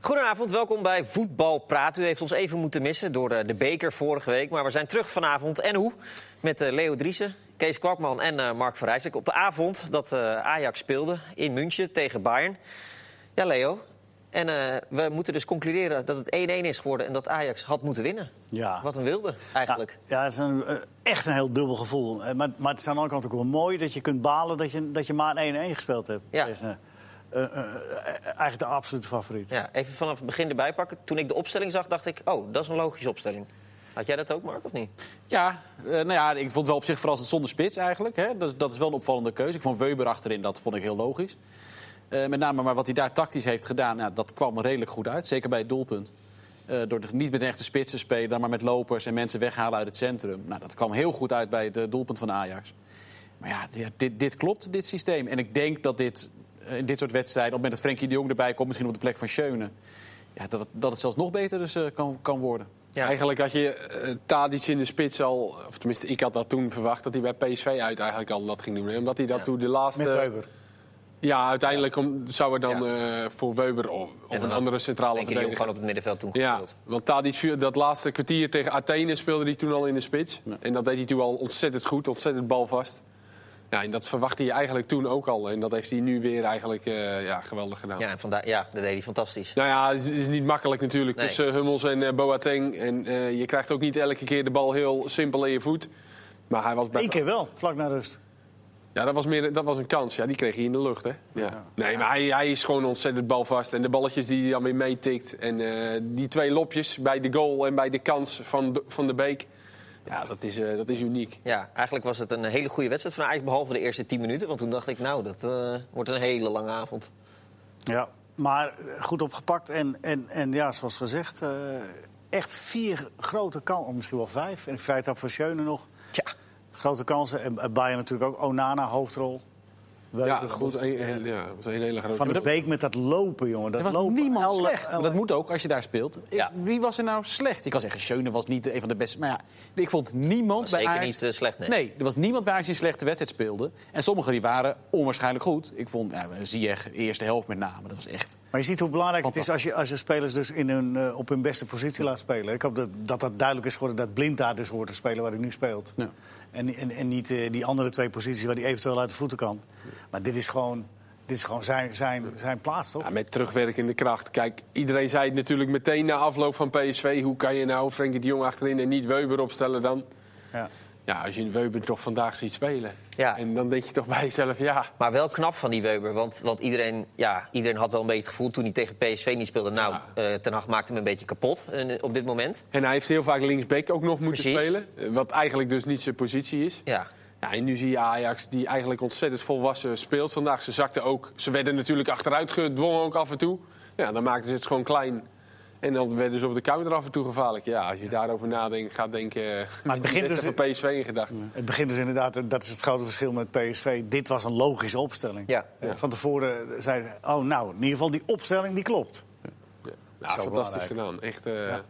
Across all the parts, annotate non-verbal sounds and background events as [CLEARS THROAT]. Goedenavond, welkom bij Voetbal Praat. U heeft ons even moeten missen door eh, de beker vorige week. Maar we zijn terug vanavond. En hoe? Met eh, Leo Driessen, Kees Kwakman en eh, Mark van Rijswijk. Op de avond dat eh, Ajax speelde in München tegen Bayern. Ja, Leo. En eh, we moeten dus concluderen dat het 1-1 is geworden en dat Ajax had moeten winnen. Ja. Wat een wilde, eigenlijk. Ja, ja, het is een, eh, echt een heel dubbel gevoel. Eh, Maar, maar het is aan de andere kant ook wel mooi dat je kunt balen dat je, dat je maar 1-1 gespeeld hebt. Ja. Tegen, eh, eh, eh, eigenlijk de absolute favoriet. Ja, even vanaf het begin erbij pakken. Toen ik de opstelling zag, dacht ik, oh, dat is een logische opstelling. Had jij dat ook, Mark, of niet? Ja, eh, nou ja, ik vond het wel op zich verrassend zonder spits eigenlijk. Hè. Dat, dat is wel een opvallende keuze. Ik vond Weber achterin, dat vond ik heel logisch. Eh, met name maar wat hij daar tactisch heeft gedaan, nou, dat kwam redelijk goed uit. Zeker bij het doelpunt. Eh, door er niet met een echte spits te spelen, maar met lopers en mensen weghalen uit het centrum. Nou, dat kwam heel goed uit bij het eh, doelpunt van Ajax. Maar ja, dit- dit, dit klopt, dit systeem. En ik denk dat dit eh, in dit soort wedstrijden, op het moment dat Frenkie de Jong erbij komt, misschien op de plek van Schöne... Ja, dat, het- dat het zelfs nog beter dus, eh, kan, kan worden. Ja. Eigenlijk had je eh, Tadic in de spits al... Of tenminste, ik had dat toen verwacht dat hij bij PSV uit eigenlijk al dat ging doen. hè. Omdat hij dat Ja. toen de laatste... Met Weber. Ja, uiteindelijk om- zou er dan eh, voor Weber of, of En dan een had andere centrale Denk je die ook verdediger... gewoon op het middenveld toen Ja, gespeeld? want Tadic, viel- dat laatste kwartier tegen Athene speelde hij toen al in de spits. En dat deed hij toen al ontzettend goed, ontzettend balvast. Ja, en dat verwachtte je eigenlijk toen ook al. En dat heeft hij nu weer eigenlijk eh, ja, geweldig gedaan. Ja, en vandaar, ja, dat deed hij fantastisch. Nou ja, het is, is niet makkelijk natuurlijk Nee. tussen Hummels en eh, Boateng. En eh, je krijgt ook niet elke keer de bal heel simpel in je voet. Maar hij was bij... Eén keer wel, vlak na rust. Ja, dat was, meer, dat was een kans. Ja, die kreeg hij in de lucht, hè? Ja. Nee, maar hij, hij is gewoon ontzettend balvast. En de balletjes die hij dan weer meetikt. En eh, die twee lopjes bij de goal en bij de kans van de, van de Beek. Ja, dat is, eh, dat is uniek. Ja, eigenlijk was het een eh, hele goede wedstrijd van Ajax, behalve de eerste 10 minuten. Want toen dacht ik, nou, dat eh, wordt een hele lange avond. Ja. Maar eh, goed opgepakt en, en, en ja, zoals gezegd, eh, echt vier grote kansen, misschien wel vijf. En vrijdag voor Schöne nog. Tja, Grote kansen. En eh, Bayern natuurlijk ook. Onana, hoofdrol. Weber, Ja, dat was een, heel- ja, dat was een hele grote... Van de Beek met dat lopen, jongen. Dat Er was lopen. niemand Elle- slecht. Elle- Maar dat moet ook als je daar speelt. Ik- Ja. Wie was er nou slecht? Ik kan zeggen, Schöne was niet een van de beste. Maar ja, ik vond niemand Was bij zeker Ajax... niet, eh, slecht, nee. er was niemand bij Ajax die een slechte wedstrijd speelde. En sommigen die waren onwaarschijnlijk goed. Ik vond, ja, Ziyech, eerste helft met name, dat was echt... Maar je ziet hoe belangrijk het is als je, als je spelers dus in hun, eh, op hun beste positie laat spelen. Ik hoop dat, dat dat duidelijk is geworden dat Blind daar dus hoort te spelen waar hij nu speelt. Ja. En, en, en niet eh, die andere twee posities waar hij eventueel uit de voeten kan. Maar dit is gewoon, dit is gewoon zijn, zijn, zijn plaats, toch? Ja, met terugwerkende kracht. Kijk, iedereen zei het natuurlijk meteen na afloop van PSV. Hoe kan je nou Frenkie de Jong achterin en niet Weber opstellen dan? Ja. Ja, als je Weber toch vandaag ziet spelen. Ja. En dan denk je toch bij jezelf, ja. maar wel knap van die Weber. Want, want iedereen, ja, iedereen had wel een beetje het gevoel toen hij tegen PSV niet speelde. Nou, eh, Ten Hag maakte hem een beetje kapot eh, op dit moment. En hij heeft heel vaak linksback ook nog moeten Precies. spelen. eh, Wat eigenlijk dus niet zijn positie is. Ja, Ja, en nu zie je Ajax die eigenlijk ontzettend volwassen speelt vandaag. Ze zakten ook, ze werden natuurlijk achteruit gedwongen ook af en toe. Ja, dan maakten ze het gewoon klein. En dan werden ze op de counter af en toe gevaarlijk. Ja, als je daarover nadenkt, gaat denken... eh, Maar het [LAUGHS] begint dus- van PSV in gedachten. Het begint dus inderdaad, dat is het grote verschil met PSV. Dit was een logische opstelling. Ja. Eh, Van tevoren zei hij, oh nou, in ieder geval die opstelling die klopt. Ja, Zo Nou, fantastisch belangrijk. gedaan. Echt eh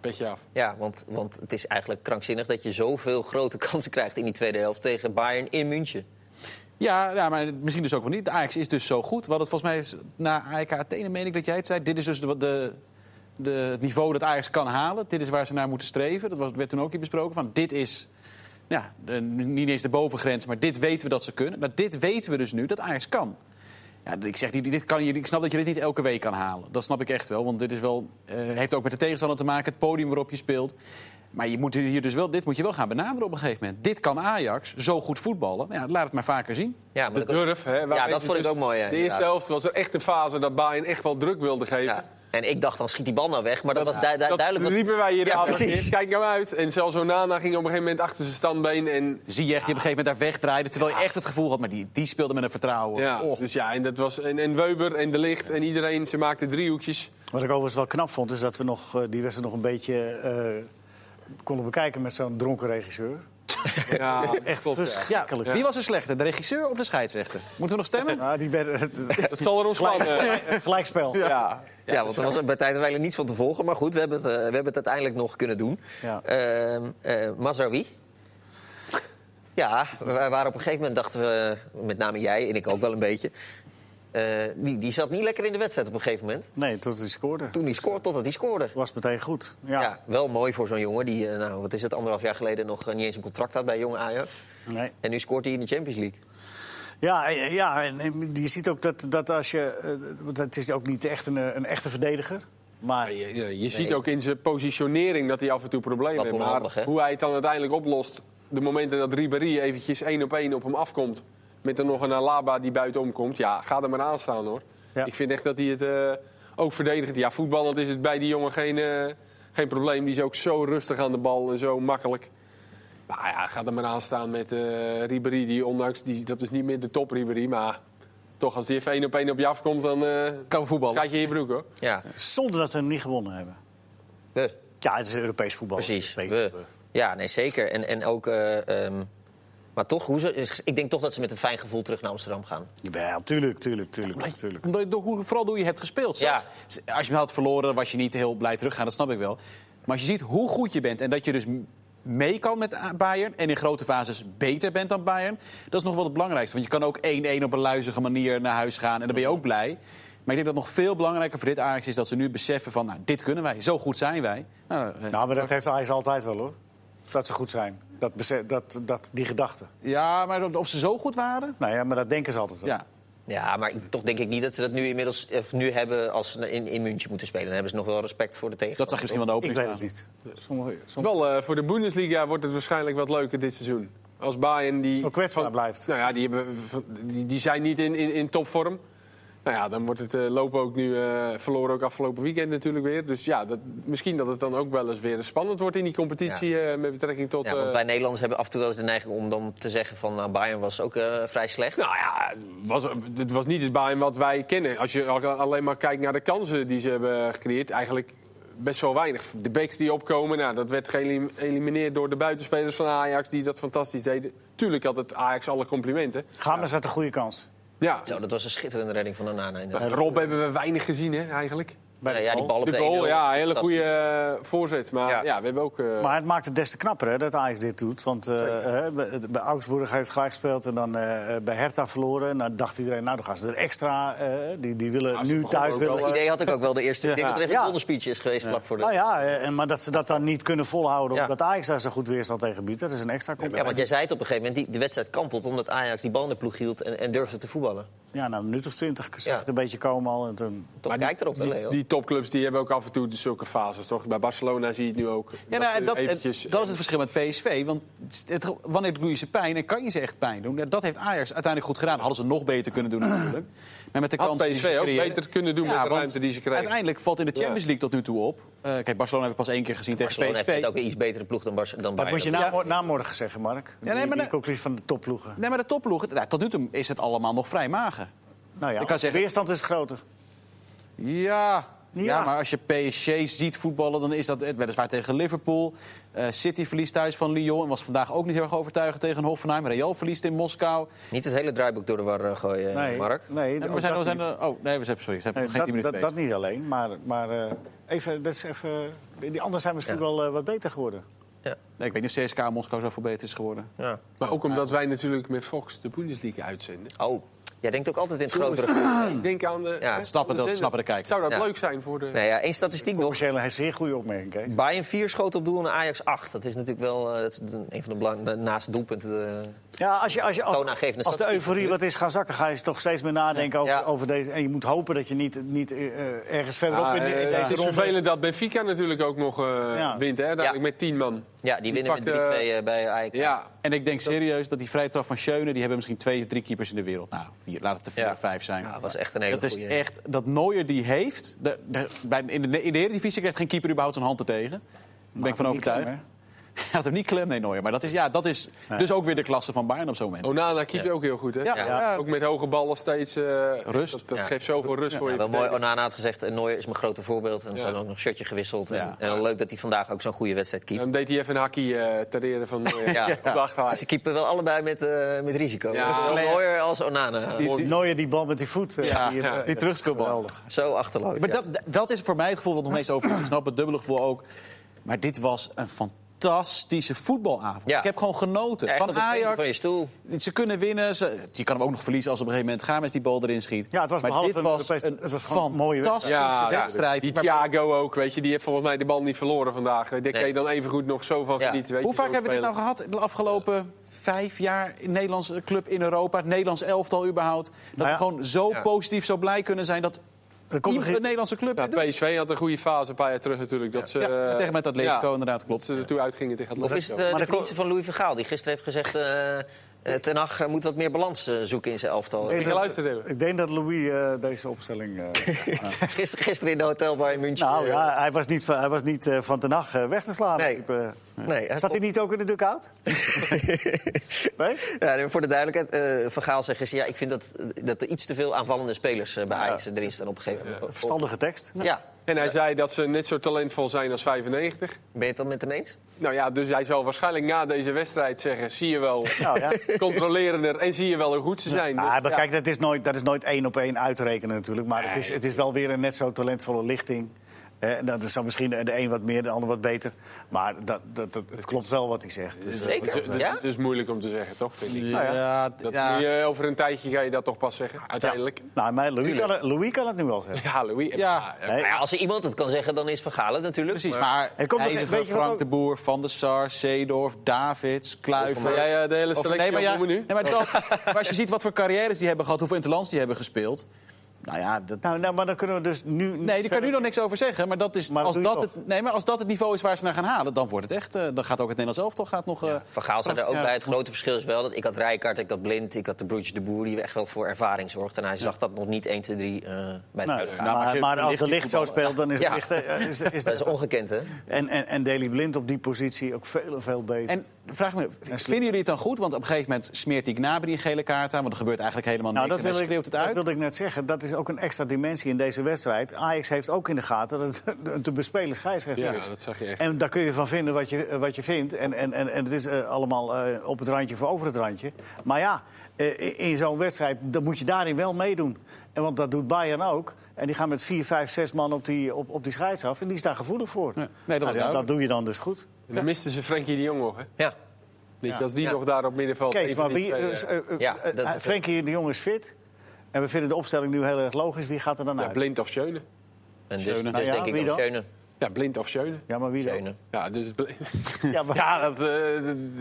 petje af. ja want, want het is eigenlijk krankzinnig dat je zoveel grote [LAUGHS] kansen krijgt in die tweede helft tegen Bayern in München. Ja, ja, maar misschien dus ook wel niet. De Ajax is dus zo goed. We hadden het volgens mij na AEK Athene, meen ik dat jij het zei. Dit is dus de, de, de, het niveau dat Ajax kan halen. Dit is waar ze naar moeten streven. Dat was, werd toen ook hier besproken. Van, dit is ja, de- niet eens de bovengrens, maar dit weten we dat ze kunnen. Maar dit weten we dus nu dat Ajax kan. Ja, ik, zeg, niet, dit kan je, ik snap dat je dit niet elke week kan halen. Dat snap ik echt wel. Want dit is wel, eh, heeft ook met de tegenstander te maken, het podium waarop je speelt. Maar je moet hier dus wel, dit moet je wel gaan benaderen op een gegeven moment. Dit kan Ajax zo goed voetballen. Nou Ja, laat het maar vaker zien. Ja, maar De dat- durf, hè. waar Ja, mensen dat vond ik dus- ook mooi. hè, De inderdaad. eerste helft was er echt een fase dat Bayern echt wel druk wilde geven. Ja. En ik dacht, dan schiet die bal nou weg. Maar dat, was du- du- dat duidelijk... wat- riepen wij hier de ja, avond. precies. Kijk nou uit. En zelfs Onana ging op een gegeven moment achter zijn standbeen. En, Zie je echt die op een gegeven moment daar wegdraaide. Terwijl je echt het gevoel had, maar die, die speelde met een vertrouwen. ja, Och. dus ja, en, dat was, en, en Weber en De Licht en iedereen, ze maakten driehoekjes. Wat ik overigens wel knap vond, is dat we nog, eh, die wedstrijd nog een beetje eh, konden bekijken met zo'n dronken regisseur. Ja, Echt klopt, ja. Ja, verschrikkelijk. wie was er slechter, de regisseur of de scheidsrechter? Moeten we nog [LAUGHS] stemmen? Ah, die werden het, Dat zal er [LAUGHS] ons van. eh, het gelijkspel. ja. Ja, want er was bij tijd eigenlijk niets van te volgen. Maar goed, we hebben het, eh, we hebben het uiteindelijk nog kunnen doen. Ja. Ehm, eh, Mazraoui. Ja, we waren op een gegeven moment, dachten we, met name jij en ik ook wel een beetje... eh, die, die zat niet lekker in de wedstrijd op een gegeven moment. Nee, tot hij scoorde. Toen hij scoorde, totdat hij scoorde. Was meteen goed. Ja. Ja. wel mooi voor zo'n jongen die, eh, nou, wat is het, anderhalf jaar geleden nog eh, niet eens een contract had bij jonge Ajax. Nee. En nu scoort hij in de Champions League. Ja, eh, ja, en en je ziet ook dat, dat als je. eh, Want het is ook niet echt een, eh, een echte verdediger. Maar Je, je- je ziet ook in zijn positionering dat hij af en toe problemen Wat heeft. onhandig, hè? Maar hoe hij het dan uiteindelijk oplost, de momenten dat Ribéry eventjes één op één op hem afkomt... met dan nog een Alaba die buiten omkomt, ja, ga er maar aan staan, hoor. Ja. Ik vind echt dat hij het eh, ook verdedigt. Ja, voetballend is het bij die jongen geen, eh, geen probleem. Die is ook zo rustig aan de bal en zo makkelijk. Nou ja, ga er maar aan staan met eh Ribéry. Die ondanks, die, dat is niet meer de top Ribéry, maar... Toch, als die even één op één op je afkomt, dan eh Kan voetballen. schijt je in je broek, hoor. Ja, zonder dat we hem niet gewonnen hebben. we, Ja, het is Europees voetbal. precies. Weet eh. We. je. Ja, nee, zeker. En, en ook, eh, ehm, maar toch, hoe ze, ik denk toch dat ze met een fijn gevoel terug naar Amsterdam gaan. Jawel, tuurlijk, tuurlijk, tuurlijk. tuurlijk. Omdat je, door, hoe, vooral door je hebt gespeeld. Ja. Zelfs Als je hem had verloren, was je niet heel blij teruggaan, dat snap ik wel. Maar als je ziet hoe goed je bent en dat je dus m- mee kan met A- Bayern... en in grote fases beter bent dan Bayern, dat is nog wel het belangrijkste. Want je kan ook 1-1 op een luizige manier naar huis gaan en dan ben je ook blij... Maar ik denk dat nog veel belangrijker voor dit Ajax is dat ze nu beseffen van... nou, dit kunnen wij, zo goed zijn wij. Nou, eh, Nou, maar dat heeft Ajax altijd wel hoor. Dat ze goed zijn. Dat, bese- dat, dat, die gedachte. Ja, maar of ze zo goed waren? Nou ja, maar dat denken ze altijd wel. Ja. Ja, maar ik- toch denk ik niet dat ze dat nu inmiddels eh, of nu hebben als ze in, in München moeten spelen. Dan hebben ze nog wel respect voor de tegen. Dat zag je misschien wel de Ik opening weet het staan. niet. Sommige, sommige- Wel, eh, voor de Bundesliga wordt het waarschijnlijk wat leuker dit seizoen. Als Bayern die... Zo kwetsbaar blijft. Nou ja, die, hebben, die, die zijn niet in, in, in topvorm. Nou ja, dan wordt het eh, lopen ook nu... eh, verloren ook afgelopen weekend natuurlijk weer. Dus ja, dat, misschien dat het dan ook wel eens weer spannend wordt in die competitie... eh, met betrekking tot... Ja, want eh, wij Nederlanders hebben af en toe wel eens de neiging om dan te zeggen van nou, Bayern was ook eh, vrij slecht. Nou ja, was, het was niet het Bayern wat wij kennen. Als je al- alleen maar kijkt naar de kansen die ze hebben gecreëerd, eigenlijk best wel weinig. De backs die opkomen, nou, dat werd geëlimineerd door de buitenspelers van Ajax die dat fantastisch deden. Tuurlijk had het Ajax alle complimenten. Gamers had een goede kans. Ja, Zo, dat was een schitterende redding van Onana. inderdaad. Rob hebben we weinig gezien hè, eigenlijk. Bij Ja, ja, die goal. bal op De de, goal, 1-0, ja, hele goede fantastisch. eh, voorzet. Maar Ja. ja. we hebben ook... eh, Maar het maakt het des te knapper hè, dat Ajax dit doet. Want eh, hè, bij, bij Augsburg heeft gelijk gespeeld en dan eh, bij Hertha verloren. En dan dacht iedereen, nou dan gaan ze er extra. eh, die, die willen Ja, ze nu begonnen thuis ook willen. Dat idee had ik ook wel eh, de eerste. Ik denk dat er even Ja. een donderspeech is geweest vlak voor de... Nou ja, eh, en- maar dat ze dat dan niet kunnen volhouden Ja. omdat Ajax daar zo goed weerstand tegen biedt, dat is een extra Ja, compliment. want jij zei het op een gegeven moment, die, de wedstrijd kantelt omdat Ajax die bal in de ploeg hield en, en durfde te voetballen. Ja, nou, een minuut of twintig zag Ja. het een beetje komen al. En toen, Toch maar die- kijk erop, hè, Leo. die, die topclubs die hebben ook af en toe zulke fases, toch? Bij Barcelona zie je het nu ook. Ja, Dat nou, en ze dat, en eventjes- dat is het verschil met PSV. Want het- het- wanneer doe je ze pijn en kan je ze echt pijn doen? Ja, Dat heeft Ajax uiteindelijk goed gedaan. Hadden ze nog beter kunnen doen [CLEARS THROAT] natuurlijk. Maar met de Had kansen die PSV ze ook creëren- beter kunnen doen met de want ruimte die ze kregen. Uiteindelijk valt in de Champions Ja. League tot nu toe op. Eh, kijk, Barcelona hebben we pas één keer gezien Barcelona tegen heeft net PSV. ook een iets betere ploeg dan, Barce- dan dat Bayern. moet je na, Ja. mo- na morgen zeggen, Mark. nee, Die- maar die de- conclusie van de topploegen. Nee, maar de topploeg, nou, tot nu toe is het allemaal nog vrij mager. Nou ja, Ik kan zeggen- weerstand is groter. Ja. Ja. Ja. maar als je PSG ziet voetballen, dan is dat eh, weliswaar tegen Liverpool. Eh, City verliest thuis van Lyon en was vandaag ook niet heel erg overtuigend tegen Hoffenheim. Real verliest in Moskou. Niet het hele draaiboek door de war eh, gooien, Nee, Mark. nee, En ook we zijn, dat we zijn niet. er, oh, nee, we zijn, sorry, we zijn Nee, nog geen 10 minuten dat, dat, bezig. dat niet alleen, maar, maar eh, even, dat is even, die anderen zijn misschien Ja. wel eh, wat beter geworden. Nee, ik weet niet of CSK Moskou zoveel beter is geworden. Ja. Maar ook omdat wij natuurlijk met Fox de Bundesliga uitzenden. Oh, jij denkt ook altijd in het Jongens, grotere... groep. Ik denk aan de. Ja, hè, Ah. snappen aan dat- snappen de kijker. Zou dat Ja. leuk zijn voor de. Nou ja, één statistiek nog. Commerciële, hij zeer goede opmerking, Kees. Bayern 4 schoten op doel en Ajax 8. Dat is natuurlijk wel eh, dat is een van de belangrijkste naast doelpunten. eh, Ja, als, je, als, je, Toonaangevende als, als de statistiek euforie wat is gaan zakken, ga je er toch steeds meer nadenken over, Ja. over deze. En je moet hopen dat je niet, niet eh, ergens verderop Ah, in, de- in eh, deze het is ronde... vervelend dat Benfica natuurlijk ook nog eh, wint, hè? Dadelijk met 10 man. ja, die winnen pakt, met 3-2 eh, eh, bij Ajax. Ja, En ik denk serieus dat die vrije trap van Schöne... die hebben misschien twee of drie keepers in de wereld. Nou, vier, laat het er vier Ja. of vijf zijn. Ja, was echt een hele dat is goeie. echt, dat Neuer die heeft... De, de- bij, in, de, in de Eredivisie krijgt geen keeper überhaupt zijn hand er tegen. Daar ben ik van niet overtuigd. klem, [LAUGHS] Hij had hem niet klem, nee, Neuer. Maar dat is, ja, dat is dus ook weer de klasse van Bayern op zo'n Oh, moment. Onana keept ook heel goed, hè? Ja, ja. Ook met hoge ballen steeds. eh, Rust. Dat, dat Ja. geeft zoveel rust voor Ja, je. wel mooi, verdediging. Onana had gezegd, eh, Neuer is mijn grote voorbeeld. En ze Ja. hadden ook nog een shirtje gewisseld. En, Ja. en wel leuk dat hij vandaag ook zo'n goede wedstrijd keept. Dan deed hij even een hakkie eh, terreren van. eh, Ja. [LAUGHS] op de achterlijn. Ze keepen wel allebei met, eh, met risico. Ja. Zowel Ja. Neuer als Onana. Die- die- Neuer die bal met die voet. eh, Ja, die, eh, ja, die dat is terugspeelbal. geweldig. Zo achterloos. Maar ja. dat, dat is voor mij het gevoel wat nog meest over is. Ik snap het dubbele gevoel ook. Maar dit was een fantastische fantastische voetbalavond. Ja. Ik heb gewoon genoten. Ja, echt op van het puntje Ajax. van je stoel. Ze kunnen winnen. Ze, je kan hem ook nog verliezen als op een gegeven moment Games die bal erin schiet. Ja, het was maar behalve dit een was Europese- een het was gewoon een mooie fantastische Ja, ja, wedstrijd. die Maar Thiago ook, weet je. Die heeft volgens mij de bal niet verloren vandaag. Daar kan je dan even goed nog zo van Ja. genieten. Weet Hoe je, vaak ook hebben we dit nou spelen. gehad de afgelopen vijf jaar? Een Nederlandse club in Europa, het Nederlands elftal überhaupt. Dat Nou ja. we gewoon zo Ja. positief, zo blij kunnen zijn dat Er komt ieder- nog geen- een Nederlandse club... dit doet. Ja, PSV had een goede fase een paar jaar terug natuurlijk. Dat ze, eh, Ja, tegen met Atletico ja, inderdaad, Dat klopt. ze er toe uitgingen tegen Of Atletico. is het eh, Maar de de vriendje van Louis Vergaal die gisteren heeft gezegd... eh, eh, Ten Hag moet wat meer balans eh, zoeken in zijn elftal. Ik Ik denk dat- luisterde even. Ik denk dat Louis eh, deze opstelling... eh, [LAUGHS] Gisteren, gisteren in de hotel bij München. nou eh, ja, hij was niet, van- hij was niet eh, van ten nacht weg te slaan. Nee. Type, eh. Nee, hij Zat hij niet ook in de dugout? nee? [LAUGHS] Ja, nee, voor de duidelijkheid, eh Van Gaal zegt gisteren... Ja, ik vind dat, dat er iets te veel aanvallende spelers eh, bij Ajax erin staan op een gegeven moment. Verstandige tekst. Ja, En hij zei dat ze net zo talentvol zijn als 95. ben je het dan met hem eens? Nou ja, dus hij zal waarschijnlijk na deze wedstrijd zeggen... zie je wel, [LAUGHS] Nou ja. controlerender en zie je wel hoe goed ze zijn. Dus, Ah, maar ja. kijk, dat is, nooit, dat is nooit één op één uitrekenen natuurlijk. Maar het, is, het is wel weer een net zo talentvolle lichting. Eh, dat is dan misschien de een wat meer, de ander wat beter. Maar dat, dat, dat, het klopt wel wat hij zegt. Dus, eh, Zeker. Dus, ja? dus, dus moeilijk om te zeggen, toch? Vind ik. ja, Dat ja. moet je, eh, over een tijdje ga je dat toch pas zeggen, uiteindelijk. ja. Nou, maar Louis, kan het, Louis kan het nu wel zeggen. Ja, Louis. eh, Ja. ja. Nee. Nou ja, als er iemand het kan zeggen, dan is Van Gaal het natuurlijk. Precies, Maar- maar Er komt nog- IJziger, weet je wat Frank ook- de Boer, Van der Sar, Seedorf, Davids, Ga Kluivert. jij eh, de hele Of- selectie nee, maar, ja, opnoemen nee, maar, [LAUGHS] dat, maar als je ziet wat voor carrières die hebben gehad, hoeveel interlands die hebben gespeeld. Nou ja, dat, Nou, nou, maar dan kunnen we dus nu... nee, daar kan nu nog niks over zeggen. Maar, dat is, Maar dat als, doe je dat toch? het, nee, maar als dat het niveau is waar ze naar gaan halen, dan wordt het echt. eh, dan gaat ook het Nederlands elftal gaat nog. eh, Van Gaal zei er ook Ja. bij. Het grote verschil is wel dat ik had Rijkaard, ik had Blind, ik had de broertje de Boer... die echt wel voor ervaring zorgt. En hij zag dat nog niet 1, 2, 3 eh, bij de Nou, huidige maar, maar als maar, je als Licht de die licht zo voetballen- speelt, dan is het Ja. licht... eh, is, [LAUGHS] is Dat is ongekend, hè? en, en, en Daley Blind op die positie ook veel, veel beter. En vraag me, vinden jullie het dan goed? Want op een gegeven moment smeert die Gnabry een gele kaart aan, want er gebeurt eigenlijk helemaal niks. Nou, dat en hij wilde, ik, schreeuwt het dat uit. wilde ik net zeggen. Dat is ook een extra dimensie in deze wedstrijd. Ajax heeft ook in de gaten dat het [LAUGHS] een te bespelen scheidsrechter Ja, is. dat zag je echt. En daar kun je van vinden wat je, eh, wat je vindt. En, en, en, en het is eh, allemaal eh, op het randje voor over het randje. Maar ja, eh, in- in zo'n wedstrijd dan moet je daarin wel meedoen. En want dat doet Bayern ook. En die gaan met vier, vijf, zes man op die, op, op die scheids af. En die is daar gevoelig voor. nee, dat was ja, dat duidelijk. doe je dan dus goed. En dan misten ze Frenkie de Jong nog, hè? Ja. Weet je, als die Ja. nog daar op middenveld... Kees, een van maar wie... die twee, eh, eh, eh, eh, Ja, eh, dat- Frenkie de Jong is fit. En we vinden de opstelling nu heel erg logisch. Wie gaat er dan ja, uit? blind of Schöne. En dus, Schöne. dus Nou ja, denk wie ik ook dan? Schöne. Ja, blind of Schöne. Ja, maar wie dan? Schöne. Ja, dus bl- Ja, maar- ja dat, eh,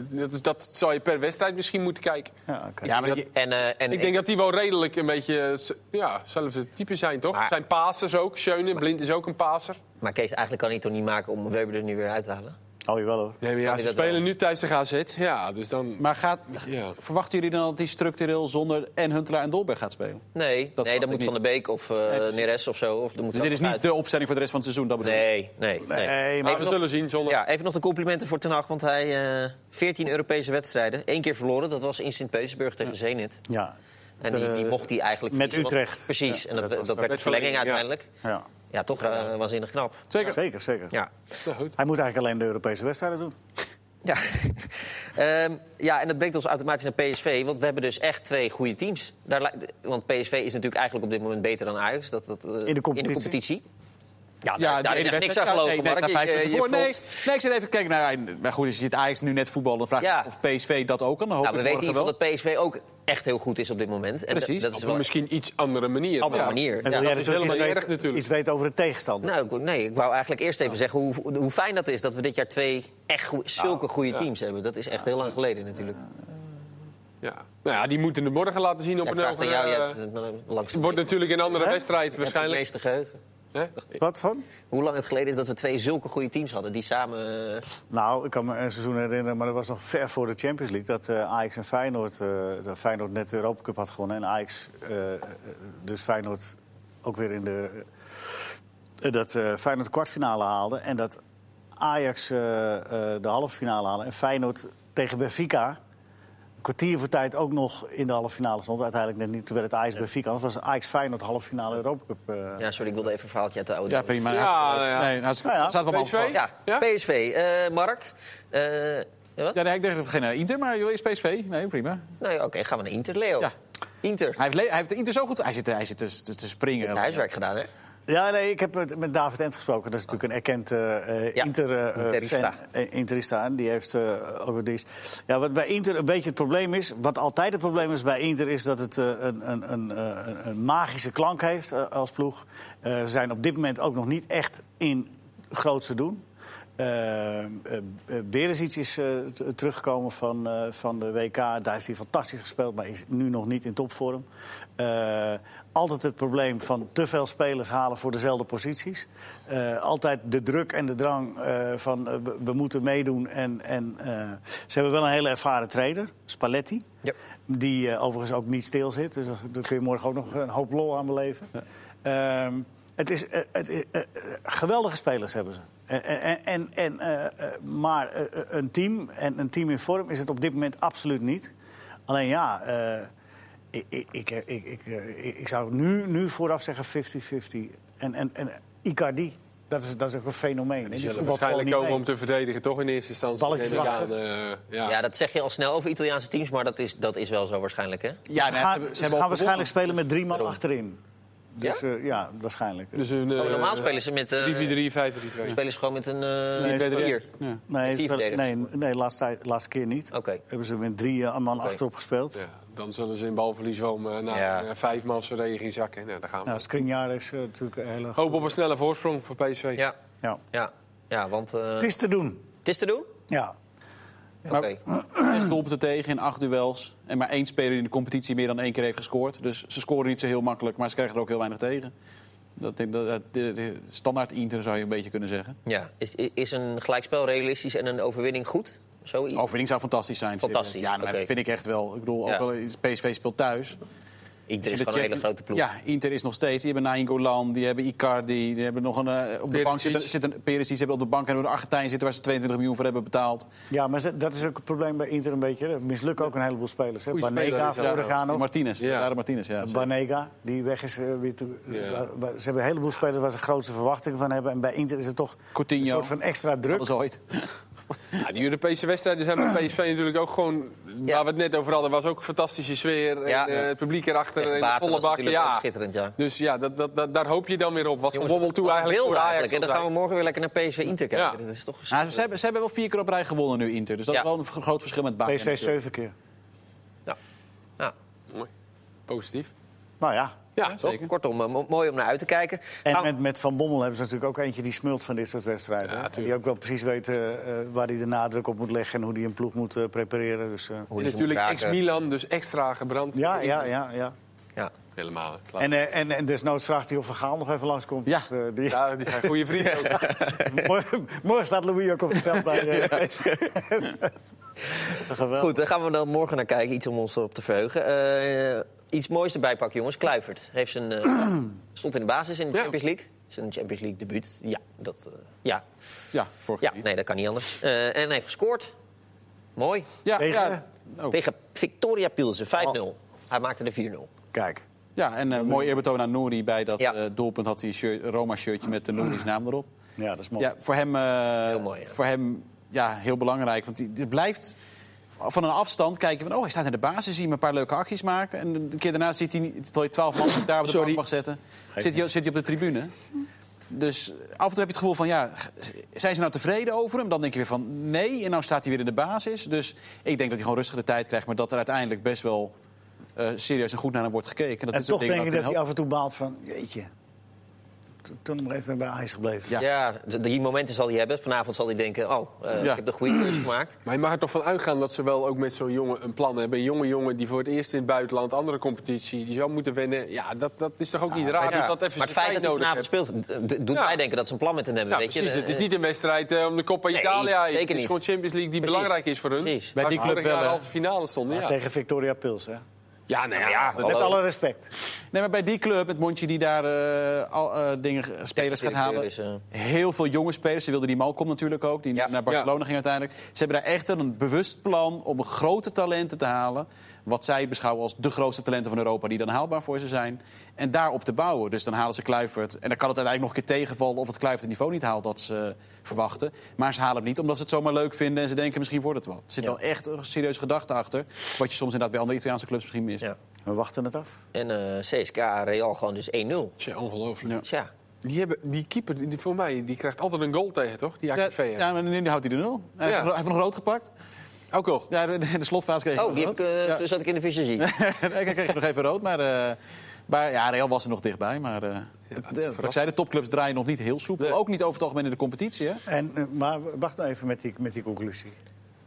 dat, is- dat zou je per wedstrijd misschien moeten kijken. Ja, oké. Ja, maar Dat- je- En, eh, en Ik denk dat die wel redelijk een beetje eh, s- ja, hetzelfde type zijn, toch? Maar- zijn pasers ook. Schöne, blind is ook een paser. Maar Kees, eigenlijk kan hij het toch niet maken om Weber er nu weer uit te halen? Oh, jawel hoor. Nee, maar Kan ja, die ze dat spelen wel? nu thuis de GZ. Ja, dus dan... Maar gaat, Ja. verwachten jullie dan dat hij structureel zonder en Huntelaar en Dolberg gaat spelen? Nee, Dat nee mag dan moet niet. Van der Beek of eh precies. Neres of zo. Of, dan moet Dus er dit nog is niet uit. de opstelling voor de rest van het seizoen, dat bedoel ik. Nee, nee, nee. Nee, maar Maar we zullen zien zonder... Ja, even nog de complimenten voor Ten Hag, want hij eh 14 Europese wedstrijden. Eén keer verloren, dat was in Sint-Petersburg tegen Zenit. Ja. En die, die Eh, mocht hij eigenlijk met verliezen, want- Utrecht. Precies, en dat, dat was dat, werd de- de met verlenging verlenging, ja. uiteindelijk. ja. Ja, toch eh, waanzinnig knap. Zeker. Zeker, zeker. Ja. Nou, goed. Hij moet eigenlijk alleen de Europese wedstrijden doen. Ja. [LAUGHS] Ehm, ja, en dat brengt ons automatisch naar PSV. Want we hebben dus echt twee goede teams. Daar, lijkt- want PSV is natuurlijk eigenlijk op dit moment beter dan Ajax. Dat, dat, eh, competitie. Ja, daar, daar Ja, die is ene echt niks wedstrijd- aan ja, gelogen, nee, Mark. deze staan Je- vijf je- minuten voor. je Nee, fronst. nee, ik zit even kijken naar... Maar goed, je ziet Ajax nu net voetballen. Dan vraag ik Ja. me of PSV dat ook kan. Dat hoop Nou, we ik weten in morgen ieder wel. geval dat PSV ook echt heel goed is op dit moment. En Precies. Dat, dat is Op een wel misschien iets andere manier. een andere Ja. manier. En Ja. wil jij dat is dus ook helemaal iets niet weten- erg natuurlijk. Iets weten over de tegenstander. Nou, ik- nee, ik wou eigenlijk eerst even zeggen hoe, hoe fijn dat is... dat we dit jaar twee echt goe- zulke goede teams hebben. Dat is echt heel lang geleden natuurlijk. Ja. Nou ja, die moeten het morgen laten zien op Ja, ik een vraag het aan ogen. jou, eh, jij hebt het, eh, langs Het wordt natuurlijk een andere Hè? wedstrijd Ik heb het waarschijnlijk. meeste geheugen. Hè? Wat van? Hoe lang het geleden is dat we twee zulke goede teams hadden... die samen... eh, Nou, ik kan me een seizoen herinneren, maar dat was nog ver voor de Champions League. Dat eh, Ajax en Feyenoord, eh, dat Feyenoord net de Europa Cup had gewonnen. En Ajax, eh, eh, dus Feyenoord ook weer in de... eh, dat eh, Feyenoord de kwartfinale haalde. En dat Ajax eh, eh, de halve finale haalde. En Feyenoord tegen Benfica... een kwartier voor tijd ook nog in de halve finale stond. Uiteindelijk net niet. Toen werd het Ajax Benfica. Anders was Ajax Feyenoord halve finale Europa Cup. eh. Ja, sorry, ik wilde even een verhaaltje uit de auto. Ja, prima. Ja, Hartstikke nou leuk. ja. Nee, Nou hartstikke- ja. het staat wel PSV? beantwoord. Ja, Ja? PSV. eh, Mark? Eh, ja, wat? Ja, nee, ik dacht geen naar Inter, maar joh, is PSV. Nee, prima. Nee, oké, gaan we naar Inter. Leo. Ja. Inter. Hij heeft, le- hij heeft de Inter zo goed... Hij zit, hij zit dus te, te- te springen. Huiswerk gedaan, hè? Ja, nee, ik heb met, met David Ent gesproken. Dat is natuurlijk een erkend eh, eh, Ja, Inter, eh, eh, Interista. fan. Eh, Interista. En die heeft eh, ook die is. Ja, wat bij Inter een beetje het probleem is... wat altijd het probleem is bij Inter... is dat het eh, een, een, een, eh, een- een magische klank heeft eh, als ploeg. Eh, Ze zijn op dit moment ook nog niet echt in grootste doen. Eh, eh, Berezic is eh, t- teruggekomen van, eh, van de WK. Daar heeft hij fantastisch gespeeld, maar is nu nog niet in topvorm. Eh, altijd het probleem van te veel spelers halen voor dezelfde posities. Eh, altijd de druk en de drang eh, van eh, we, we moeten meedoen. En, en, eh, ze hebben wel een hele ervaren trainer, Spalletti. Ja. Die eh, overigens ook niet stil zit. Dus daar- daar kun je morgen ook nog een hoop lol aan beleven. Ehm, het is, eh, het, eh, eh, geweldige spelers hebben ze. En, en, en, en, eh, eh, maar eh, eh, een team en een team in vorm is het op dit moment absoluut niet. Alleen ja, eh, ik, ik, ik, ik, ik, eh, ik- ik zou nu, nu vooraf zeggen 50-50. En, en, en Icardi, dat is, dat is ook een fenomeen. En die zullen voetbalt waarschijnlijk gewoon komen niet om te verdedigen, toch in eerste instantie. Balletjes neem ik aan, wachten. eh, ja. Ja, dat zeg je al snel over Italiaanse teams, maar dat is, dat is wel zo waarschijnlijk, hè? Ja, mee. nee, Ze hebben- gaan, ze hebben al gaan gewonnen. waarschijnlijk spelen met drie man Daarom. achterin. Dus ja, ja waarschijnlijk. Dus een, eh, Oh, normaal spelen ze met... eh, 3-4-3, 5-3-2. spelen ze gewoon met een... eh, Nee, vier. twee, drie. Ja. Nee, Met vier spelen- nee, verdedigers. nee laatste, tijd- laatste keer niet. Oké. Hebben ze met drie eh, man achterop gespeeld. Ja, dan zullen ze in balverlies wel eh, na Ja. eh, vijf maal zijn regen zakken. Nou, daar gaan we. Nou, Skriniar is eh, natuurlijk een hele Hoop op een snelle voorsprong voor PSV. Ja, Ja. ja, ja, want... eh, Het is te doen. het is te doen? Ja. Oké. Zes doelpunten tegen in acht duels. En maar één speler die in de competitie meer dan één keer heeft gescoord. Dus ze scoren niet zo heel makkelijk, maar ze krijgen er ook heel weinig tegen. Dat, dat, dat, de- de- standaard Inter zou je een beetje kunnen zeggen. Ja. Is, is een gelijkspel realistisch en een overwinning goed? Zoiets? Overwinning zou fantastisch zijn. Fantastisch, Ja, dat oké. vind ik echt wel. Ik bedoel, Ja. ook wel, PSV speelt thuis. Inter is Als Dus je gewoon de een check- hele grote ploeg. Ja, Inter is nog steeds. Die hebben Nainggolan, die hebben Icardi, die hebben nog een... eh, op de Perisic. bank zitten, zitten, Perisic hebben op de bank en de Argentijn zitten... waar ze 22 miljoen voor hebben betaald. ja, maar ze- dat is ook het probleem bij Inter een beetje. Er mislukken ook een heleboel spelers. Hè. Goeie Banega, speler is dat vorig jaar nog. Martinez, Ja. Lautaro Martinez, ja. Banega, die weg is eh, weer toe. Ja. waar- waar- Ze hebben een heleboel spelers waar ze grootste verwachtingen van hebben. En bij Inter is het toch Coutinho. een soort van extra druk. Dat is ooit. Ja, die Europese wedstrijden zijn bij PSV natuurlijk ook gewoon... Waar we het net over hadden, was ook een fantastische sfeer. Ja. en, eh, het publiek erachter Tegen en de Baten volle was bak. natuurlijk ook Ja. schitterend, ja. Dus ja, dat, dat, dat, daar hoop je dan weer op. Wat Van Bommel toe wat eigenlijk wilde voor Ajax eigenlijk. En dan gaan we morgen weer lekker naar PSV Inter kijken. Ja. Dat is toch Ja, Nou, ze, ze hebben, ze hebben wel vier keer op rij gewonnen nu, Inter. Dus dat Ja. is wel een v- groot verschil met Bayern. PSV natuurlijk. zeven keer. Ja. Ja. Mooi. Positief. Nou ja. Ja, Toch? zeker. Kortom, eh, mo- mooi om naar uit te kijken. Nou, En Gaan- met, met Van Bommel hebben ze natuurlijk ook eentje die smult van dit soort wedstrijden. hè. die tuurlijk. ook wel precies weet eh, eh, waar hij de nadruk op moet leggen en hoe hij een ploeg moet eh, prepareren. Dus, eh, Hoe je ze moet Natuurlijk raken. ex-Milan, dus extra gebrand. ja, ja, ja, ja. Ja. Helemaal. het laat- En, eh, en, en desnoods vraagt hij of Vergaal nog even langskomt. Ja. Eh, die- Ja, die zijn goede vrienden [LAUGHS] ook. morgen, morgen staat Louis ook op het veld bij eh, de Geweldig. Goed, daar gaan we dan morgen naar kijken. Iets om ons op te verheugen. Eh, iets moois erbij pakken, jongens. Kluivert heeft zijn, [CLEARS THROAT] eh, stond in de basis in de Ja. Champions League. Zijn Champions League debuut. Ja, dat, eh, ja. Ja, vorig ja jaar niet. nee, dat kan niet anders. Eh, en heeft gescoord. Mooi. Ja, Tegen? ja, Nou. Oh. Tegen Victoria Pilsen, 5-0. Oh. Hij maakte de 4-0. Kijk, ja, en eh, mooi eerbetoon aan Nouri. Bij dat Ja. eh, doelpunt had hij een shirt- Roma-shirtje met de Nouri's naam erop. ja, dat is mooi. Ja, voor hem, eh, Heel mooi, ja. Voor hem ja, heel belangrijk. Want die- die blijft van een afstand kijken van... oh, hij staat in de basis, zie hem een paar leuke acties maken. En een keer daarna zit hij, niet- terwijl je twaalf man daar op de bank mag zetten... Zit hij, zit hij op de tribune. Dus af en toe heb je het gevoel van, ja, g- zijn ze nou tevreden over hem? Dan denk je weer van, nee, en nou staat hij weer in de basis. Dus ik denk dat hij gewoon rustig de tijd krijgt... maar dat er uiteindelijk best wel eh, serieus en goed naar hem wordt gekeken. Dat en dit soort toch dingen denk ik wel dat hij kunnen af en toe baalt van, jeetje, t- toen nog even bij IJs gebleven. Ja. Ja, d- die momenten zal hij hebben. Vanavond zal hij denken, oh, eh, Ja. ik heb de goede keuze gemaakt. Maar je mag er toch van uitgaan dat ze wel ook met zo'n jongen een plan hebben. Een jonge jongen die voor het eerst in het buitenland, andere competitie, die zou moeten wennen. Ja, dat, dat is toch ook niet raar Ja. dat dat even maar het zijn feit dat tijd hij nodig vanavond heeft. speelt, d- d- doet Ja. mij denken dat ze een plan met hem hebben. Ja, weet precies. je? het is niet een wedstrijd eh, om de Coppa Nee, Italia. zeker het is niet. gewoon Champions League die Precies. belangrijk is voor hun. Precies. Bij Waar die ze club vorig jaar wel, hè? halve finale stonden. Ja, Tegen Victoria Pils, hè. ja nou ja. Ja, Met Hallo. alle respect. Nee, maar bij die club, met Montje die daar eh, al, eh, dingen, spelers gaat halen. directeur is, Heel veel jonge spelers. Ze wilden die Malcolm natuurlijk ook, die Ja. naar Barcelona Ja. ging uiteindelijk. Ze hebben daar echt wel een bewust plan om grote talenten te halen. Wat zij beschouwen als de grootste talenten van Europa, die dan haalbaar voor ze zijn. En daarop te bouwen. Dus dan halen ze Kluivert. En dan kan het uiteindelijk nog een keer tegenvallen of het Kluivert het niveau niet haalt dat ze eh, verwachten. Maar ze halen hem niet omdat ze het zomaar leuk vinden en ze denken misschien wordt het wat. Er zit wel echt een serieuze gedachte achter. Wat je soms inderdaad bij andere Italiaanse clubs misschien mist. Ja. We wachten het af. En eh CSK Real gewoon dus 1-0. Tja, ongelooflijk. Tja, Die, hebben, die keeper, die, voor mij, die krijgt altijd een goal tegen, toch? Die Ja, AKV. ja, maar nu nu houdt hij de nul. Hij Ja. heeft- hij heeft nog rood gepakt. Ook nog. Ja, de, de slotfase kreeg hij Oh, die heb nog ik, eh, rood. Ja. toen zat ik in de visagie. [LAUGHS] ik kreeg nog even rood, maar, eh, maar ja, Real was er nog dichtbij. Maar eh, de- wat ik zei, de topclubs draaien nog niet heel soepel. Nee. Ook niet over het algemeen in de competitie. Hè? En, eh, maar wacht nou even met die, met die conclusie.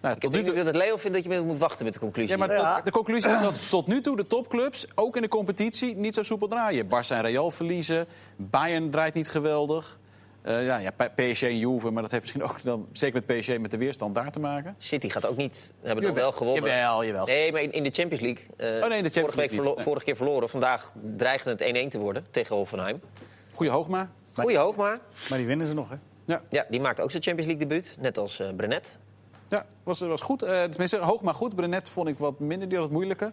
Nou, Ik tot nu denk toe, dat het Leo vindt dat je met- moet wachten met de conclusie. ja, maar Ja. tot- de conclusie is dat tot nu toe de topclubs, ook in de competitie, niet zo soepel draaien. Barça en Real verliezen, Bayern draait niet geweldig. Eh, ja, ja, P- PSG en Juve, maar dat heeft misschien ook dan, zeker met PSG met de weerstand daar te maken. City gaat ook niet. We hebben nog Jawel, wel gewonnen. jawel, jawel. Nee, maar in, in de Champions League. eh, in de Champions vorige, League week verlo- niet, nee. vorige keer verloren. Vandaag dreigde het 1-1 te worden tegen Hoffenheim. Goeie hoogma. Goeie hoogma. Maar die winnen ze nog, hè? Ja, Ja, die maakt ook zijn Champions League debuut. Net als eh, Brenet. ja was, was goed. Eh tenminste, hoogma goed. Brenet vond ik wat minder, die had het moeilijker.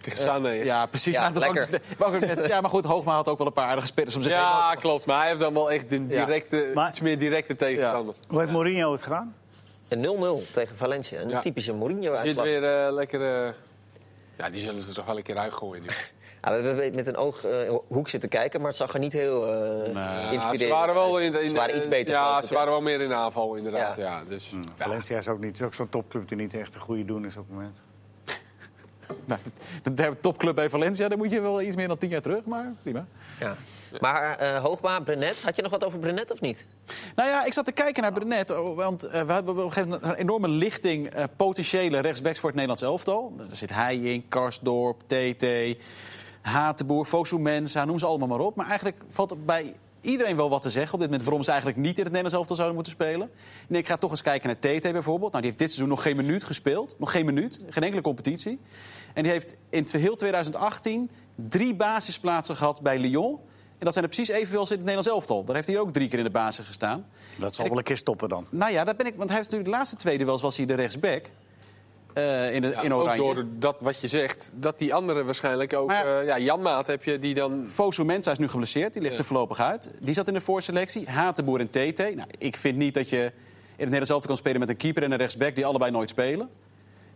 Tegen Sané. ja. Ja, precies. Ja, Ja, dat lekker. was- wou ik ook net- ja, maar goed, Hoogma had ook wel een paar aardige spelers om zich heen. Ja, klopt. Maar hij heeft dan wel echt een directe, Maar- iets meer directe tegenstander. Hoe heeft Mourinho het gedaan? Een 0-0 tegen Valencia. Een Ja. typische mourinho Zit uitslag weer eh, lekker... eh, Ja, die zullen ze toch wel een keer uitgooien. nu. we hebben met een oog eh, hoek zitten kijken, maar het zag er niet heel eh Ja, Nou, inspirerend ze waren wel in de, in Ze de- waren iets beter. Ja, geopend, ze waren wel meer in de aanval, inderdaad. Ja. Ja. dus, Hmm. ja. Valencia is ook, niet, is ook zo'n topclub die niet echt een goede doen is op het moment. Nou, de- de topclub bij Valencia, daar moet je wel iets meer dan tien jaar terug, maar prima. ja. Maar eh, Hoogma, Brenet. Had je nog wat over Brenet of niet? Nou ja, ik zat te kijken naar Brenet, oh, want eh, we hebben op een gegeven moment een enorme lichting eh, potentiële rechtsbacks voor het Nederlands elftal. Daar zit hij in, Karsdorp, TT, Hatenboer, Fosu Mensa, noem ze allemaal maar op. Maar eigenlijk valt er bij iedereen wel wat te zeggen op dit moment waarom ze eigenlijk niet in het Nederlands elftal zouden moeten spelen. En ik ga toch eens kijken naar TT bijvoorbeeld. Nou, die heeft dit seizoen nog geen minuut gespeeld. Nog geen minuut, geen enkele competitie. En die heeft in tw- heel 2018 drie basisplaatsen gehad bij Lyon. En dat zijn er precies evenveel als in het Nederlands elftal. Daar heeft hij ook drie keer in de basis gestaan. Dat zal wel een keer stoppen dan. Nou ja, daar ben ik, want hij heeft natuurlijk de laatste tweede wel eens was hij de rechtsback. eh, in, de, Ja, in ook Oranje. door dat wat je zegt, dat die anderen waarschijnlijk ook... Maar- eh, ja, Janmaat heb je, die dan... Fosu Mensa is nu geblesseerd, die ligt er voorlopig uit. Die zat in de voorselectie. Hatenboer en TT. Nou, ik vind niet dat je in het Nederlands elftal kan spelen met een keeper en een rechtsback die allebei nooit spelen.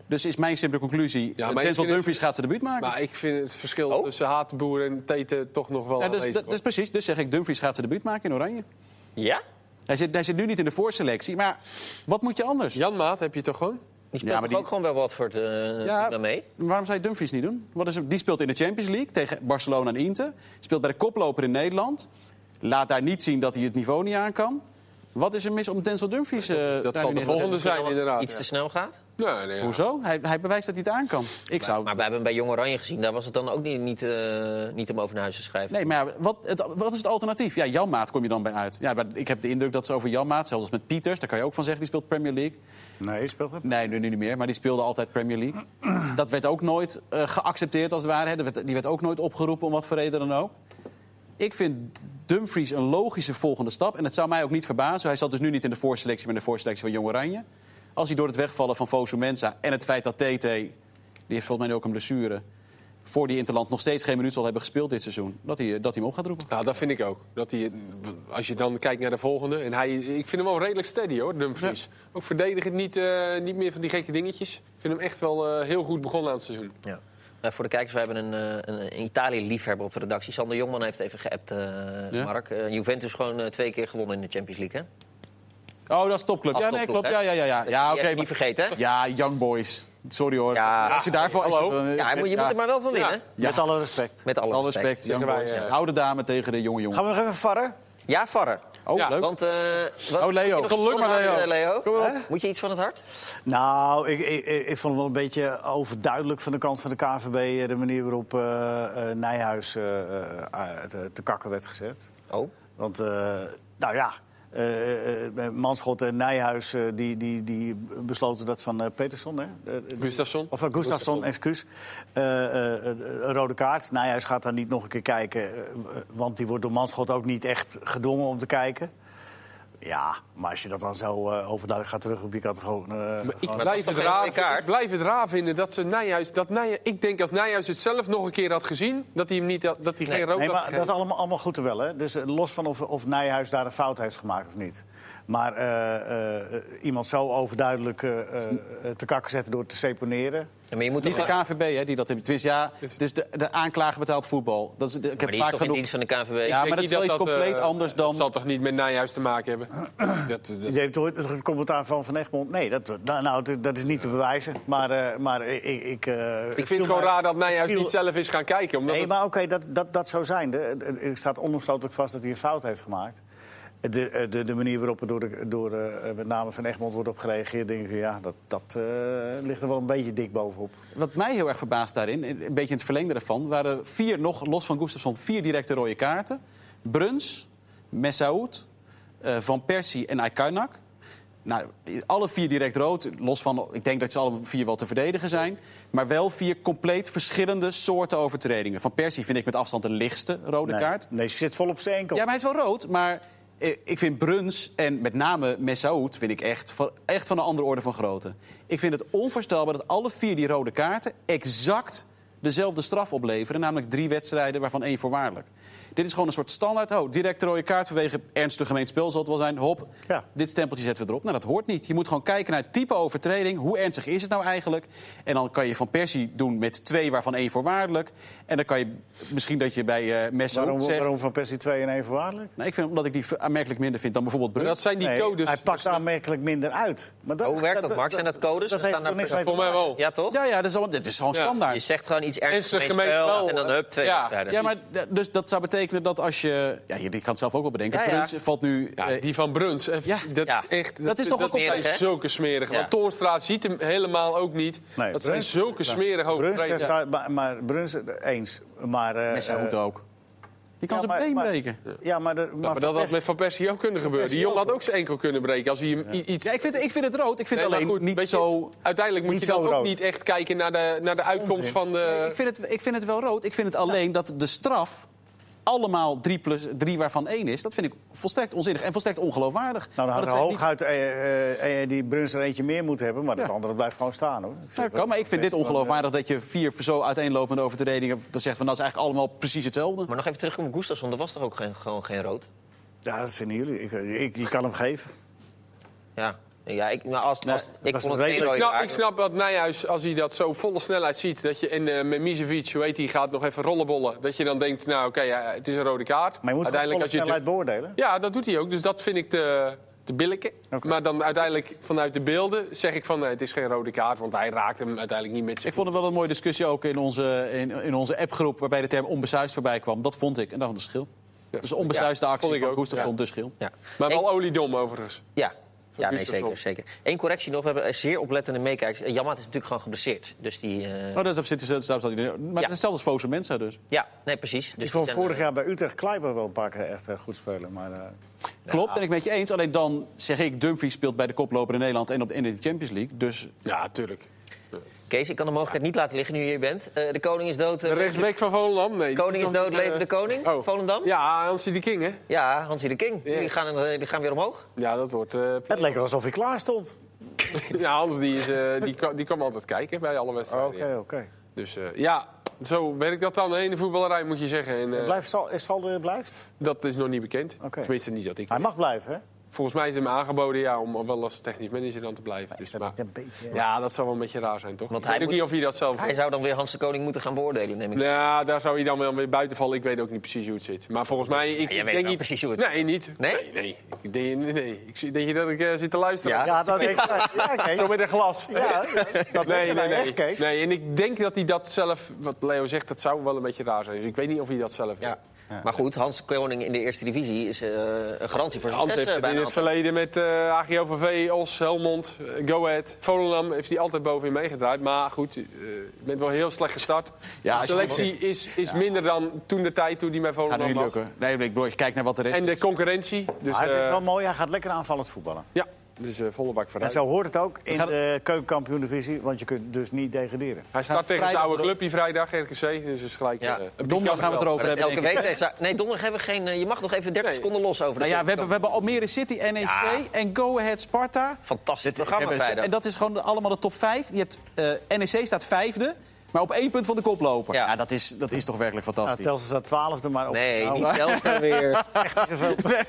Dus is mijn simpele conclusie: maar ja, ik Denzel vind het- Dumfries gaat zijn debuut maken. Maar ik vind het verschil Oh. tussen Hatenboer en Tete toch nog wel Ja, dus, aanwezig. dat- dus precies, dus zeg ik: Dumfries gaat zijn debuut maken in Oranje. Ja? Hij zit, hij zit nu niet in de voorselectie, maar wat moet je anders? Janmaat heb je toch gewoon? Die Ja, speelt maar toch die- ook gewoon bij Watford eh Ja, dan mee? Waarom zou je Dumfries niet doen? Wat is, het- die speelt in de Champions League tegen Barcelona en Inter. Speelt bij de koploper in Nederland. Laat daar niet zien dat hij het niveau niet aan kan. Wat is er mis om Denzel Dumfries... eh, dat daar zal niet de in te zetten? volgende zijn, Misschien wel inderdaad, Iets ja. te snel gaat? Nee, nee. ja. Hoezo? Hij, hij bewijst dat hij het aan kan. Ik zou... Maar we hebben hem bij Jong Oranje gezien. Daar was het dan ook niet, niet, eh, niet om over naar huis te schrijven. Nee, maar ja, wat, het, wat is het alternatief? Ja, Jan Maat kom je dan bij uit. Ja, maar ik heb de indruk dat ze over Jan Maat, zelfs als met Pieters... daar kan je ook van zeggen, die speelt Premier League. Nee, speelt het? Nee, nu, nu niet meer, maar die speelde altijd Premier League. [CLEARS THROAT] Dat werd ook nooit eh, geaccepteerd als het ware. Hè. Dat werd- die werd ook nooit opgeroepen, om wat voor reden dan ook. Ik vind Dumfries een logische volgende stap. En het zou mij ook niet verbazen. Hij zat dus nu niet in de voorselectie, maar in de voorselectie van Jong Oranje. Als hij door het wegvallen van Fosu Mensa en het feit dat TT... die heeft volgens mij nu ook een blessure... voor die Interland nog steeds geen minuut zal hebben gespeeld dit seizoen... dat hij, eh, dat hij hem op gaat roepen. Nou, dat vind ik ook. Dat hij, als je dan kijkt naar de volgende. En hij, ik vind hem wel redelijk steady hoor, Dumfries. Ook verdedigend niet, eh, niet meer van die gekke dingetjes. Ik vind hem echt wel eh, heel goed begonnen aan het seizoen. Ja. Eh, voor de kijkers, we hebben een, eh, een, een Italië-liefhebber op de redactie. Sander Jongman heeft even geappt, eh, Ja. Mark. Eh, Juventus gewoon eh, twee keer gewonnen in de Champions League, hè? Oh, dat is topclub. Als Ja, nee, topclub, klopt. hè? Ja, ja, ja. Ja, ja Die heb oké. je maar- niet vergeten, hè? ja, Young Boys. Sorry hoor. Ja. als je daarvoor... als je- Hallo? eh, Ja, je moet, je ja. moet er maar wel van winnen. Ja. Met alle respect. Met alle, Alle respect, Young Zeggen wij, Boys. eh, Ja. Oude dame tegen de jonge jongen. Gaan we nog even varren? Ja, Varren. Oh, Ja, leuk. Want, eh, wat- Oh, moet Leo. je nog iets Geluk van het maar, hart, Leo. eh, Leo. Kom maar op. Hè? Moet je iets van het hart? Nou, ik, ik, ik- ik vond het wel een beetje overduidelijk van de kant van de KVB eh, de manier waarop eh, eh, Nijhuis eh, eh, eh, te, te kakken werd gezet. Oh. Want, eh, nou ja, eh, eh, Manschot en Nijhuis eh, die, die, die besloten dat van eh, Peterson, hè? Eh, eh, Gustafsson. Of van Gustafsson, excuus. Eh, eh, eh, een rode kaart. Nijhuis gaat daar niet nog een keer kijken. eh, want die wordt door Manschot ook niet echt gedwongen om te kijken. Ja, maar als je dat dan zo eh, overduidelijk gaat terug, ik had gewoon... eh, Ik dat was blijf, toch het geen raar, rode kaart? ik blijf het raar vinden dat ze Nijhuis... Dat Nijhuis ik denk als Nijhuis het zelf nog een keer had gezien... dat hij, hem niet, had- dat hij geen rood Nee, had maar dat gegeven. allemaal, allemaal goed en wel. Hè? Dus eh, los van of, of Nijhuis daar een fout heeft gemaakt of niet. Maar eh, eh, eh, iemand zo overduidelijk eh, eh, eh, te kakken zetten door te seponeren. Maar je moet Niet toch de maar KNVB, hè, die dat heeft. Tenminste, ja, dus de, de aanklager betaalt voetbal. Dat is, ik die heb is vaak toch in genoeg... dienst van de KNVB? Ja, maar dat Ik denk is wel niet iets dat, compleet eh, anders dan... Dat zal toch niet met Nijhuis te maken hebben? dat, dat- Je hebt ooit het commentaar van Van Egmond. Nee, dat, nou, nou, dat- dat is niet te bewijzen. Maar, eh, maar ik... Ik, eh, het ik viel vind het gewoon mij- raar dat Nijhuis viel- niet zelf is gaan kijken. Omdat Nee, het- maar oké, dat, dat, dat zou zijn. De- de- Er staat onomstotelijk vast dat hij een fout heeft gemaakt. De, eh, de, de manier waarop er door, de, door eh, met name van Egmond wordt op gereageerd, denk ik, ja, dat, dat eh, ligt er wel een beetje dik bovenop. Wat mij heel erg verbaast daarin, een beetje in het verlengde daarvan... waren vier, nog los van Gustafsson, vier directe rode kaarten. Bruns, Messaoud, eh, Van Persie en Aykanak. Nou, alle vier direct rood, los van... Ik denk dat ze alle vier wel te verdedigen zijn. Maar wel vier compleet verschillende soorten overtredingen. Van Persie vind ik met afstand de lichtste rode nee, kaart. Nee, ze zit vol op zijn enkel. Ja, maar hij is wel rood, maar... eh, Ik vind Bruns en met name Messaoud vind ik echt van, echt van een andere orde van grootte. Ik vind het onvoorstelbaar dat alle vier die rode kaarten exact dezelfde straf opleveren. Namelijk drie wedstrijden, waarvan één voorwaardelijk. Dit is gewoon een soort standaard. Oh, direct rode kaart vanwege ernstig gemeen spel zal het wel zijn. Hop, Ja. dit stempeltje zetten we erop. Nou, dat hoort niet. Je moet gewoon kijken naar het type overtreding. Hoe ernstig is het nou eigenlijk? En dan kan je Van Persie doen met twee, waarvan één voorwaardelijk. En dan kan je misschien dat je bij eh waarom, Messaoud zegt... waarom van Persie 2 en 1 voorwaardelijk? Nou, ik vind omdat ik die v- aanmerkelijk minder vind dan bijvoorbeeld Brun. dat zijn die Nee, codes. hij Dus pakt aanmerkelijk minder uit. Maar dat, Hoe werkt dat, Max? Zijn dat codes? Dat Er heeft staan er daar- niks mee te Voor mij maken. wel. Ja, toch? Ja, ja, dat is, al, dat is gewoon Ja. Je standaard. zegt gewoon iets ernstig Ernstig gemeen gemeen spel spel, en dan hè? hup, twee Ja. wedstrijden. Ja, maar d- dus dat zou betekenen dat als je... Ja, je- die kan het zelf ook wel bedenken. Ja, ja. Bruns valt nu... Ja, eh, die van Bruns. eh, Ja. Dat Ja. is echt. Dat is toch ook dat zijn smerig, hè? zulke smerig. Ja. Want Toornstra ziet hem helemaal ook niet. Nee, dat zijn Bruns- zulke smerige Bruns, overtredingen. staat- maar, maar Bruns eh, eens. Maar, eh, Messaoud eh, ook. Je kan ja, zijn maar- been maar- breken. Ja, maar, de, maar, Ja, maar Van dat had Persie- met Van Persie ook kunnen gebeuren. Die jongen had ook zijn enkel kunnen breken. Als hij hem i- iets... Ja, ik, vind, ik vind het rood. Ik vind Nee, het maar alleen goed, niet weet je, zo... Uiteindelijk moet Niet je dan zo ook rood. niet echt kijken naar de, naar de uitkomst van de... Ik vind, het, ik vind het wel rood. Ik vind het alleen dat de straf allemaal 3 plus 3 waarvan 1 is. Dat vind ik volstrekt onzinnig en volstrekt ongeloofwaardig. Nou, dan Maar had dat er zijn niet- hooguit eh, eh, eh, die Bruns er eentje meer moeten hebben, maar dat Ja. andere blijft gewoon staan hoor. Ik vind Ja, dat dat- kan, maar ik vind dit ongeloofwaardig dat je vier zo uiteenlopende overtredingen... dat zegt van, dat is eigenlijk allemaal precies hetzelfde. Maar nog even terug op Gustafsson, er was toch ook geen, gewoon geen rood? Ja, dat vinden jullie. Ik, eh, ik, je kan hem geven. Ja, ja ik, nou, als, als, ik was vond een het geen redelijk- Ik rode snap, kaart. ik snap dat Nijhuis, als hij dat zo volle snelheid ziet... dat je en eh met Misevic, hoe heet die, gaat nog even rollenbollen. Dat je dan denkt, nou oké, ja, het is een rode kaart. Maar je moet uiteindelijk als je snelheid beoordelen. Ja, dat doet hij ook. Dus dat vind ik te, te billijken. Oké. Maar dan uiteindelijk vanuit de beelden zeg ik van... nee, het is geen rode kaart, want hij raakt hem uiteindelijk niet met Ik zijn... vond het wel een mooie discussie ook in onze, in, in onze appgroep... waarbij de term onbesuisd voorbij kwam. Dat vond ik. En daarvan de schil. Dus onbesuisde Ja, actie vond ik van ook, Gustafsson, ja. dus schil. Ja. Maar Eén- wel oliedom overigens. Ja, ja nee, Gustafsson. zeker, zeker. Eén correctie nog. We hebben een zeer oplettende meekijkers. Eh, Jamat is natuurlijk gewoon geblesseerd. Dus die... eh, Oh, dat is zitten ze dat Maar het is hetzelfde als Fosu Mensa dus. Ja, nee, precies. Dus ik vond die zijn, vorig eh, jaar bij Utrecht Kleiber wel een paar keer echt eh, goed spelen. Maar eh, Klopt, ben ik met je eens. Alleen dan zeg ik, Dumfries speelt bij de koploper in Nederland... en op de, in de Champions League. Dus Ja, tuurlijk. Kees, ik kan de mogelijkheid niet laten liggen nu je hier bent. Eh, de koning is dood. eh, De rechtsback van Volendam? Nee. die Koning is nog dood, niet, eh, leven de koning. oh. Volendam. Ja, Ja, Hansie de King, hè? Hansie de King. Ja. Die, gaan, eh, die gaan weer omhoog. Ja, dat [LAUGHS] wordt... eh, het leek wel alsof hij klaar stond. ja, Hans die, is, eh, die, kan, die kan altijd kijken bij alle Oké, wedstrijden. oké. ja. Dus eh, ja, zo werkt dat dan hè, in de voetballerij, moet je zeggen. En, eh, Blijft Sal, is Saldo er blijft? dat is nog niet bekend. Oké. Tenminste, niet dat ik... Hij mag blijven, hè? Volgens mij is hem aangeboden ja, om wel als technisch manager dan te blijven. Dus, maar, Een beetje. ja, dat zou wel een beetje raar zijn, toch? Want ik weet hij ook moet- niet of hij dat zelf... Hij zou dan weer Hans de Koning moeten gaan beoordelen, neem ik Nou, daar zou hij dan wel weer buiten vallen. Ik weet ook niet precies hoe het zit. Maar volgens mij... Ik, jij ik weet denk wel niet... precies hoe het- Nee, niet. Nee? Nee, nee. Ik denk, nee, nee. Ik zie- denk je dat ik eh, zit te luisteren? Ja. Ja, dat denk ik. Ja, Kees. [LAUGHS] Zo met een glas. Ja, dat Nee, nee, nee. Kees. nee. En ik denk dat hij dat zelf, wat Leo zegt, dat zou wel een beetje raar zijn. Dus ik weet niet of hij dat zelf Ja. heeft. Maar goed, Hans de Koning in de eerste divisie is eh, een garantie voor Hans succes. heeft eh, het bij in een het aantal- verleden met eh AGOVV, Os, Helmond, eh, Go Ahead, Volendam heeft hij altijd bovenin meegedraaid. Maar goed, eh, je bent wel heel slecht gestart. Ja, als de je- selectie is, is minder dan toen de tijd toen hij bij gaat nu Volendam niet was. lukken. Nee, ik bedoel, als je kijkt naar wat de rest En de concurrentie. Dus, Maar het is eh, wel mooi. Hij gaat lekker aanvallend voetballen. ja, dus eh, volle bak En vooruit. zo hoort het ook in gaan- de keukenkampioen-divisie, want je kunt dus niet degraderen. Hij start tegen het vrijdag oude erop. clubje vrijdag, RKC. Dus is gelijk... Ja. eh, Op die Donderdag kan gaan we het wel. erover Maar dat hebben, denk elke ik. week. Nee, za- nee, donderdag hebben we geen. eh, je mag nog even 30 Nee. seconden los over. de Nou ja, we keukenkampioen. hebben, we hebben Almere City en NEC Ja. en Go Ahead Sparta. Fantastisch Hebben programma ze- vrijdag. En dat is gewoon de- allemaal de top 5. Je hebt, eh, NEC E staat vijfde. Maar op één punt van de koploper. Ja. Ja, dat, is, dat is toch werkelijk Nou, fantastisch. [LAUGHS] Telstra staat twaalfde, maar op Nee, nou, niet Telstar weer. Nee,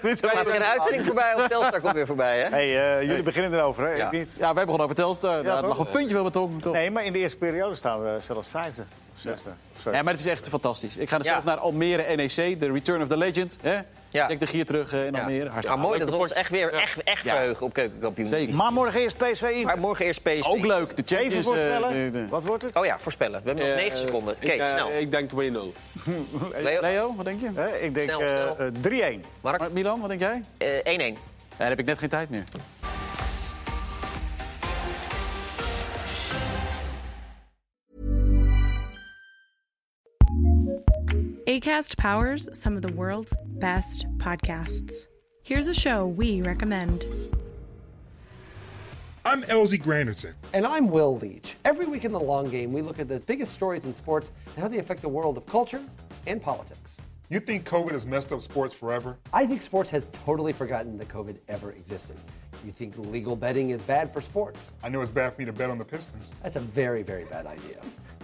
dit is ook- Maak er een uitzending voorbij of Telstar komt weer voorbij, hè? Hey, eh, jullie beginnen erover, hè? Ja. Ik niet. Ja, wij begonnen over Telstar. Ja, toch? nog een puntje wel beton. Toch? Nee, maar in de eerste periode staan we zelfs vijfde of zesde. Of zo. Ja, maar het is echt fantastisch. Ik ga er Ja. zelf naar Almere NEC, de Return of the Legend. Hè? Ja. Kijk de gier terug eh, in Ja. Almere. Ja, Hartstikke mooi leuk. dat we ons echt weer echt, echt Ja. verheugen op keukenkampioen. Zeker. Maar morgen eerst PSV Maar in. morgen eerst PSV. Ook leuk, de Even Champions... voorspellen. eh, nee, nee. Wat wordt het? Oh ja, voorspellen. We hebben nog 9 seconden. Kees, ik, eh, snel. Ik denk 2-0. Leo, Leo, wat denk je? Hè, ik denk Snel, eh, snel. eh, 3-1. Mark, Maar Milan, wat denk jij? Ja, eh, 1-1. daar heb ik net geen tijd meer. ACAST powers some of the world's best podcasts. Here's a show we recommend. I'm Elsie Granderson. And I'm Will Leach. Every week in the long game, we look at the biggest stories in sports and how they affect the world of culture and politics. You think COVID has messed up sports forever? I think sports has totally forgotten that COVID ever existed. You think legal betting is bad for sports? I know it's bad for me to bet on the Pistons. That's a very, very bad idea.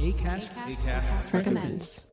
ACAST recommends.